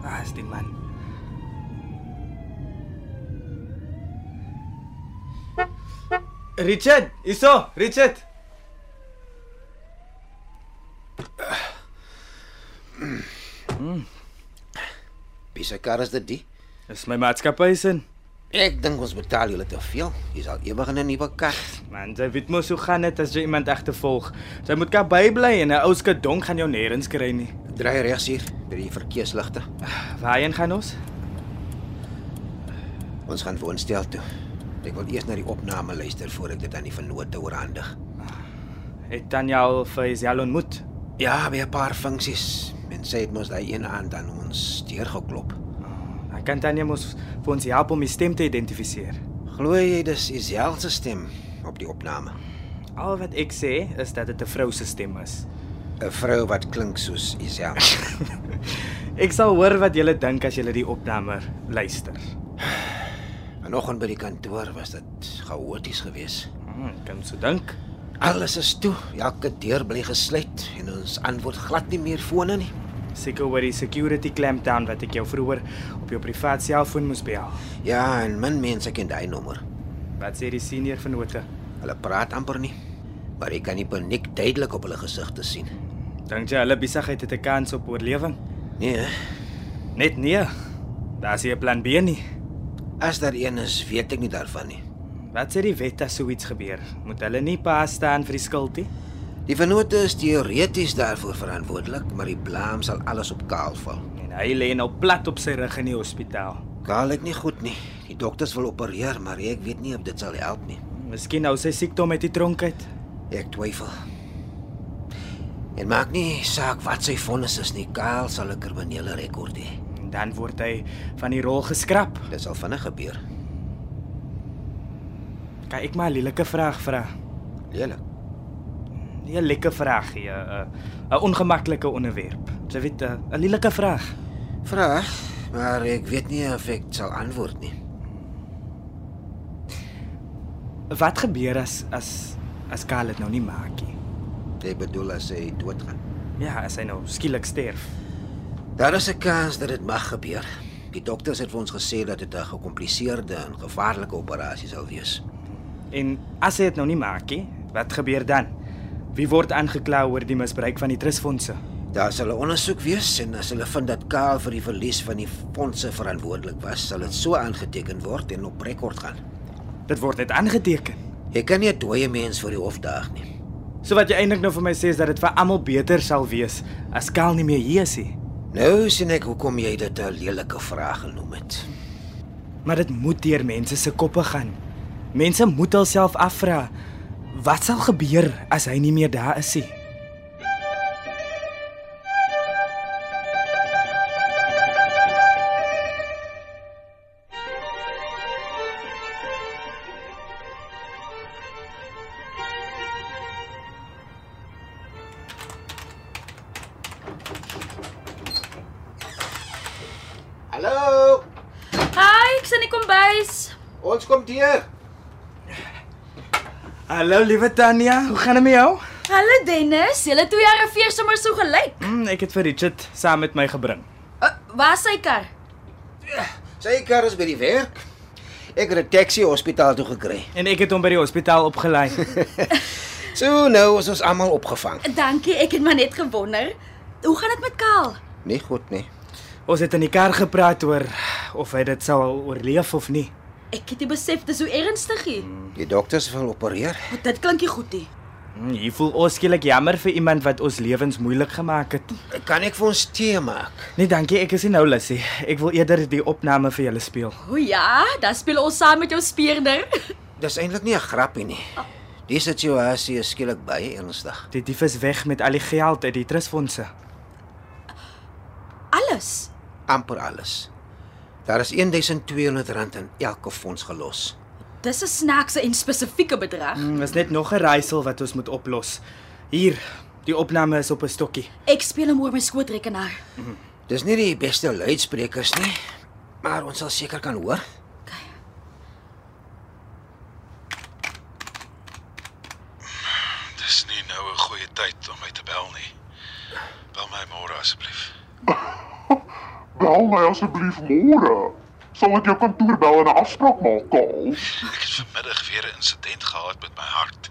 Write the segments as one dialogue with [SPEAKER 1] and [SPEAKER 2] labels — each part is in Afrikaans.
[SPEAKER 1] Waar is die man? Richard, hierso, Richard.
[SPEAKER 2] Wie se kar is dit die?
[SPEAKER 1] Dis my maatskappy sin.
[SPEAKER 2] Ek dink ons betaal julle te veel. Jy's al ewig in 'n nuwe kar.
[SPEAKER 1] Man, jy weet mos hoe gaan dit as jy iemand agtervolg. Jy moet kan bybly en 'n ou skadong gaan jou nêrens kry nie.
[SPEAKER 2] Draai regs hier by die verkeersligte.
[SPEAKER 1] Waarheen gaan ons?
[SPEAKER 2] Ons gaan woonstel toe. Ek wil eers na die opname luister voor ek dit aan die vennote oorhandig.
[SPEAKER 1] Het Tanya al vir Isel ontmoet?
[SPEAKER 2] Ja, by 'n paar funksies. Men sê dit mos daai een aand aan ons deur geklop.
[SPEAKER 1] Hy kan Tanya mos vir ons help om die stem te identifiseer.
[SPEAKER 2] Glo jy dis Isel se stem op die opname?
[SPEAKER 1] Al wat ek sê is dat dit 'n vrou se stem is.
[SPEAKER 2] 'n Vrou wat klink soos Isel.
[SPEAKER 1] Ek sal hoor wat julle dink as julle die opname luister.
[SPEAKER 2] Vanoggend by die kantoor was dit chaoties geweest.
[SPEAKER 1] Hmm, ek kan so dink.
[SPEAKER 2] Alles is toe. Elke deur bly gesluit en ons antwoord glad nie meer fone nie.
[SPEAKER 1] Seker oor die security clampdown wat ek jou vroeër op jou privaat selfoon moes bel.
[SPEAKER 2] Ja, en min mense ken daai nommer.
[SPEAKER 1] Wat sê die senior vennote?
[SPEAKER 2] Hulle praat amper nie, maar ek kan die paniek duidelik op hulle gesigte sien.
[SPEAKER 1] Dink jy hulle besigheid het 'n kans op oorlewing?
[SPEAKER 2] Nee,
[SPEAKER 1] Net nee. Daar's nie 'n plan B nie.
[SPEAKER 2] as daar een is, weet ek nie daarvan nie.
[SPEAKER 1] Wat sê die wet as so iets gebeur? Moet hulle nie pas staan vir die skuld nie?
[SPEAKER 2] Die vennote is teoreties daarvoor verantwoordelik, maar die blame sal alles op Kaal val.
[SPEAKER 1] En hy lê nou plat op sy rug in die hospitaal.
[SPEAKER 2] Kaal lyk nie goed nie. Die dokters wil opereer, maar ek weet nie of dit sal help nie.
[SPEAKER 1] Miskien nou sy siekte met die dronkheid.
[SPEAKER 2] Ek twyfel. En maak nie saak wat sy vonnis is nie, Kaal sal 'n kriminele rekord hê.
[SPEAKER 1] En dan word hy van die rol geskraap.
[SPEAKER 2] Dit sal vinnig gebeur.
[SPEAKER 1] Kan ek maar 'n lelike vraag vra?
[SPEAKER 2] Lelik.
[SPEAKER 1] Nie 'n lekker vraag eh, nie, 'n 'n ongemaklike onderwerp. Jy weet, 'n 'n lelike vraag.
[SPEAKER 2] Vraag, maar ek weet nie of ek sal antwoord nie.
[SPEAKER 1] Wat gebeur as as as Karl dit nou nie maak nie?
[SPEAKER 2] Jy bedoel as hy doodgaan?
[SPEAKER 1] Ja, as hy nou skielik sterf.
[SPEAKER 2] Daar is 'n kans dat dit mag gebeur. Die dokters het vir ons gesê dat dit 'n gekompliseerde en gevaarlike operasie sal wees.
[SPEAKER 1] En as hy dit nou nie maak nie, wat gebeur dan? Wie word aangekla oor die misbruik van die trustfondse?
[SPEAKER 2] Daar sal 'n ondersoek wees en as hulle vind dat Karl vir die verlies van die fondse verantwoordelik was, sal dit so aangeteken word en op rekord gaan.
[SPEAKER 1] Dit word net aangeteken.
[SPEAKER 2] Jy kan nie 'n dooie mens voor die hof daag nie.
[SPEAKER 1] So wat jy eintlik nou vir my sê is dat dit vir almal beter sal wees as Karl nie meer hier is nie.
[SPEAKER 2] Nou sien ek hoekom jy dit 'n lelike vraag genoem het.
[SPEAKER 1] Maar dit moet deur mense se koppe gaan. Mense moet hulself afvra wat sal gebeur as hy nie meer daar is nie.
[SPEAKER 2] Hallo,
[SPEAKER 3] Hi, ek sien die kombuis.
[SPEAKER 2] ons kom deur.
[SPEAKER 1] Hallo liewe Tanya, hoe gaan dit met jou?
[SPEAKER 3] Hallo Dennis, julle twee arriveer sommer so gelyk.
[SPEAKER 1] Mm, ek het vir Richard saam met my gebring.
[SPEAKER 3] Uh, waar is sy kar?
[SPEAKER 2] Sy kar is by die werk. Ek het 'n taxi hospitaal toe gekry.
[SPEAKER 1] En ek het hom by die hospitaal opgelaai.
[SPEAKER 2] So nou is ons almal opgevang.
[SPEAKER 3] Dankie, ek het maar net gewonder. Hoe gaan dit met Kaal?
[SPEAKER 2] Nee, goed nee.
[SPEAKER 1] Ons het in die kar gepraat oor of hy dit sal oorleef of nie.
[SPEAKER 3] Ek het nie besef dis hoe ernstig hier.
[SPEAKER 2] Die dokters wil opereer.
[SPEAKER 3] Want dit klink nie goed nie.
[SPEAKER 1] Hmm, Hier voel ons skielik jammer vir iemand wat ons lewens moeilik gemaak het.
[SPEAKER 2] Kan ek vir ons tee maak?
[SPEAKER 1] Nee, dankie, ek is nie nou lus nie. Ek wil eerder die opname vir julle speel.
[SPEAKER 3] O ja, dan speel ons saam met jou speerder.
[SPEAKER 2] Dis eintlik nie 'n grapie nie. Die situasie is skielik baie ernstig.
[SPEAKER 1] Die dief is weg met al die geld uit die trustfondse.
[SPEAKER 3] Alles.
[SPEAKER 2] Amper alles. Daar is R1200 in elke fonds gelos.
[SPEAKER 3] Dis 'n snaakse en spesifieke bedrag.
[SPEAKER 1] Mm, Dis net nog 'n raaisel wat ons moet oplos. Hier, die opname is op 'n stokkie.
[SPEAKER 3] Ek speel hom oor my skootrekenaar.
[SPEAKER 2] Dis nie die beste luidsprekers nie, maar ons sal seker kan hoor.
[SPEAKER 4] Dis nie nou 'n goeie tyd om my te bel nie. Bel my môre asseblief.
[SPEAKER 5] Bel my asseblief môre. Sal ek jou kantoor bel en 'n afspraak maak, Kaal?
[SPEAKER 4] Ek het vanmiddag weer 'n insident gehad met my hart.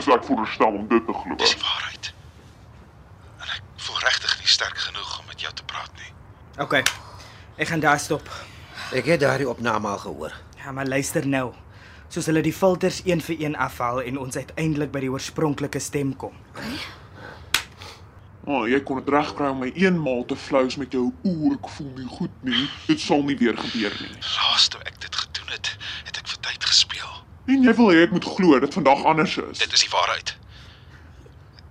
[SPEAKER 5] Is ek veronderstel om dit te glo?
[SPEAKER 4] Dis die waarheid. En ek voel regtig nie sterk genoeg om met jou te praat nie.
[SPEAKER 1] OK. Ek gaan daar stop.
[SPEAKER 2] Ek het daardie opname al gehoor.
[SPEAKER 1] Ja, maar luister nou. Soos hulle die filters een vir een afhaal en ons uiteindelik by die oorspronklike stem kom.
[SPEAKER 5] O, oh, jy kon dit regkry om my eenmaal te flous met jou oor, ek voel nie goed nie. Dit sal nie weer gebeur nie.
[SPEAKER 4] Laas toe ek dit gedoen het, het ek vir tyd gespeel.
[SPEAKER 5] En jy wil hê ek moet glo dat vandag anders is.
[SPEAKER 4] Dit is die waarheid.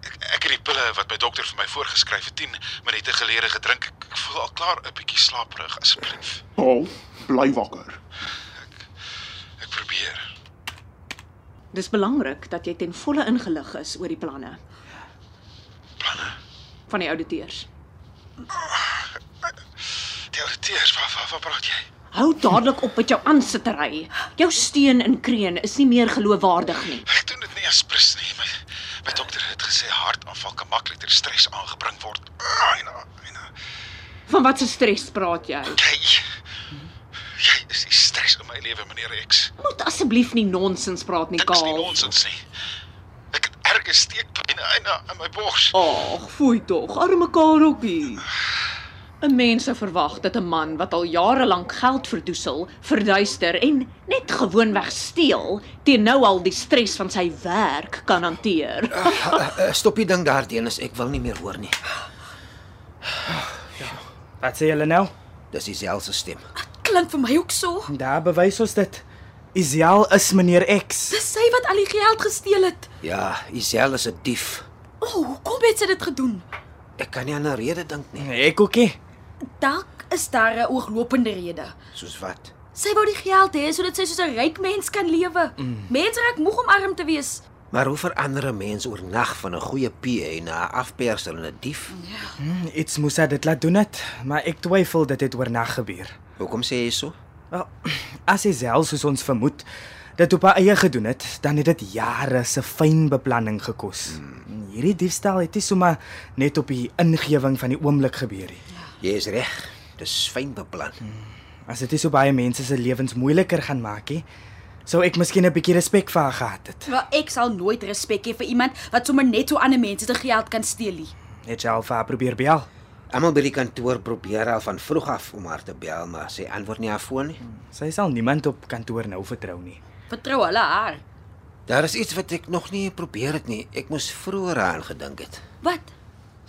[SPEAKER 4] Ek ek het die pille wat my dokter vir my voorgeskryf het 10 minute gelede gedrink. Ek, ek voel al klaar 'n bietjie slaperig asseblief.
[SPEAKER 5] Kaal, bly wakker.
[SPEAKER 4] Ek probeer.
[SPEAKER 6] Dis belangrik dat jy ten volle ingelig is oor die planne
[SPEAKER 4] Planne.
[SPEAKER 6] van die ouditeurs.
[SPEAKER 4] Teoreties, wat wat wat praat jy?
[SPEAKER 6] Hou dadelik op met jou aansittery. Jou steun in kreun is nie meer geloofwaardig nie.
[SPEAKER 4] Ek doen dit nie aspres nie. My my dokter het gesê hartaanval kan maklik deur stres aangebring word. Aina, aina.
[SPEAKER 6] Van wat se stres praat jy?
[SPEAKER 4] Jy jy is die stres in my lewe, meneer X.
[SPEAKER 6] Moet asseblief nie nonsens praat nie,
[SPEAKER 4] Dit is nie
[SPEAKER 6] Kaal.
[SPEAKER 4] nonsens nie. Ek het erge steekpyn aina in my bors.
[SPEAKER 6] Ag, foei tog, arme Kaalrokkie. 'n Mens sou verwag dat 'n man wat al jare lank geld verdoesel, verduister en net gewoonweg steel, teen nou al die stres van sy werk kan hanteer.
[SPEAKER 2] Uh, stop die ding daar, Dennis, ek wil nie meer hoor nie.
[SPEAKER 1] Wat sê julle nou?
[SPEAKER 2] Dis dieselfde stem.
[SPEAKER 3] Klink vir my ook so.
[SPEAKER 1] Daar bewys ons dit. Isiel is meneer X.
[SPEAKER 3] Dis sy wat al die geld gesteel het.
[SPEAKER 2] Ja, Isel is 'n dief.
[SPEAKER 3] O, oh, hoekom het sy dit gedoen?
[SPEAKER 2] Ek kan nie aan 'n rede dink nie.
[SPEAKER 1] Ek ookie.
[SPEAKER 3] Dalk is daar 'n ooglopende rede.
[SPEAKER 2] Soos wat?
[SPEAKER 3] Sy wou die geld hê sodat sy soos 'n ryk mens kan lewe. Mm. Mense raak moeg om arm te wees.
[SPEAKER 2] Maar hoe verander 'n mens oornag van 'n goeie PA na 'n afperser en 'n dief?
[SPEAKER 3] Ja.
[SPEAKER 1] Mm, Iets moes hy dit laat doen het, maar ek twyfel dit het oornag gebeur.
[SPEAKER 2] Hoekom sê jy so?
[SPEAKER 1] Wel, as hy self soos ons vermoed dit op haar eie gedoen het, dan het dit jare se fyn beplanning gekos. Hmm. Hierdie diefstal het nie sommer net op die ingewing van die oomblik gebeur nie.
[SPEAKER 2] Jy is reg. Dis fyn beplan.
[SPEAKER 1] As dit nie so baie mense se lewens moeiliker gaan maak nie, sou ek miskien 'n bietjie respek vir haar gehad het.
[SPEAKER 3] Wel, ek sal nooit respek hê vir iemand wat sommer net so ander mense se geld kan steel nie.
[SPEAKER 1] Het sy al vir haar probeer bel?
[SPEAKER 2] Almal by die kantoor probeer al van vroeg af om haar te bel, maar sy antwoord nie haar foon nie.
[SPEAKER 1] Sy sal niemand op kantoor nou vertrou nie.
[SPEAKER 3] Vertrou hulle haar.
[SPEAKER 2] Daar is iets wat ek nog nie probeer het nie. Ek moes vroeër aan gedink het.
[SPEAKER 3] Wat?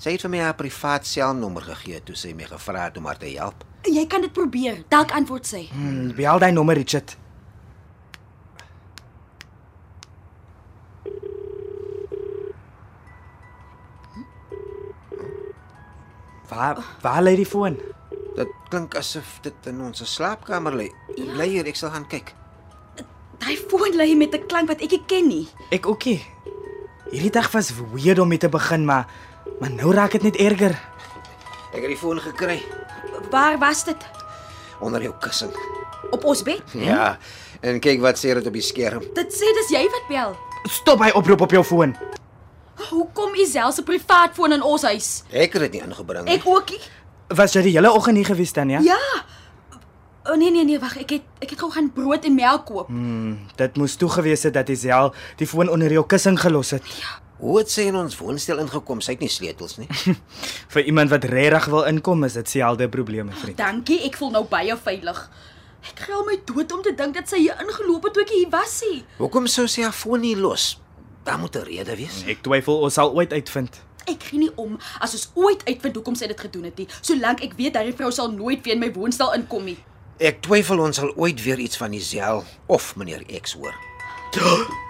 [SPEAKER 2] Sy het vir my haar privaat selnommer gegee toe sy my gevra het om haar te help.
[SPEAKER 3] Jy kan dit probeer. Dalk antwoord sy.
[SPEAKER 1] Hmm, bel daai nommer Richard. Waar waar lê die foon?
[SPEAKER 2] Dit klink asof dit in ons slaapkamer lê. Ja. Bly hier, ek sal gaan kyk.
[SPEAKER 3] Daai foon lê met 'n klank wat ek nie ken nie.
[SPEAKER 1] Ek ookie. Hierdie dag was weird om mee te begin, maar maar nou raak dit net erger.
[SPEAKER 2] Ek het die foon gekry
[SPEAKER 3] Waar was dit?
[SPEAKER 2] onder jou kussing.
[SPEAKER 3] Op ons bed?
[SPEAKER 2] Ja. En kyk wat sê dit op die skerm.
[SPEAKER 3] Dit sê dis jy wat bel.
[SPEAKER 1] Stop hy oproep op jou foon.
[SPEAKER 3] Hoekom is selfs 'n privaat foon in ons huis?
[SPEAKER 2] Ek het dit nie ingebring nie.
[SPEAKER 3] Ek ookie.
[SPEAKER 1] Was jy die hele oggend hier gewees dan ja?
[SPEAKER 3] Ja. O oh, nee nee nee, wag. Ek het ek het gou gaan brood en melk koop.
[SPEAKER 1] Hmm, Dit moes toe gewees het dat Isel die foon onder jou kussing gelos het.
[SPEAKER 2] Hoe het sy in ons woonstel ingekom? Sy het nie sleutels nie.
[SPEAKER 1] Vir iemand wat regtig wil inkom is dit selde probleme, vriend.
[SPEAKER 3] Dankie, ek voel nou baie veilig. Ek gril my dood om te dink dat sy hier ingeloop het toe ek hier was. Hy.
[SPEAKER 2] Hoekom sou sy haar foon nie los? Daar moet 'n rede wees.
[SPEAKER 1] Ek twyfel ons sal ooit uitvind.
[SPEAKER 3] Ek gee nie om as ons ooit uitvind hoekom sy dit gedoen het nie, solank ek weet daardie vrou sal nooit weer in my woonstel inkom nie.
[SPEAKER 2] Ek twyfel ons sal ooit weer iets van Isel of meneer X hoor.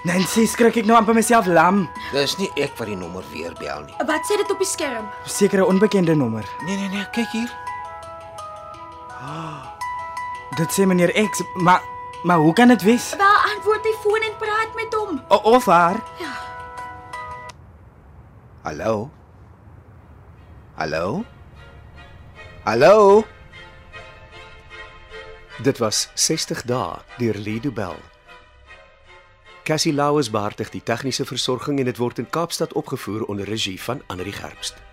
[SPEAKER 1] Nancy, skrik ek nou amper myself lam.
[SPEAKER 2] Dis nie ek wat die nommer weer bel nie.
[SPEAKER 3] Wat sê dit op die skerm?
[SPEAKER 1] Sekere onbekende nommer.
[SPEAKER 2] Nee nee nee, kyk hier.
[SPEAKER 1] Dit sê meneer X, maar maar hoe kan dit wees?
[SPEAKER 3] Wel, antwoord die foon en praat met hom.
[SPEAKER 1] O, of haar?
[SPEAKER 2] Hallo? Hallo? Hallo?
[SPEAKER 7] Dit was 60 dae deur Lido Bell. Cassie Lauers beheer die tegniese versorging en dit word in Kaapstad opgevoer onder regie van Anri Gerbst.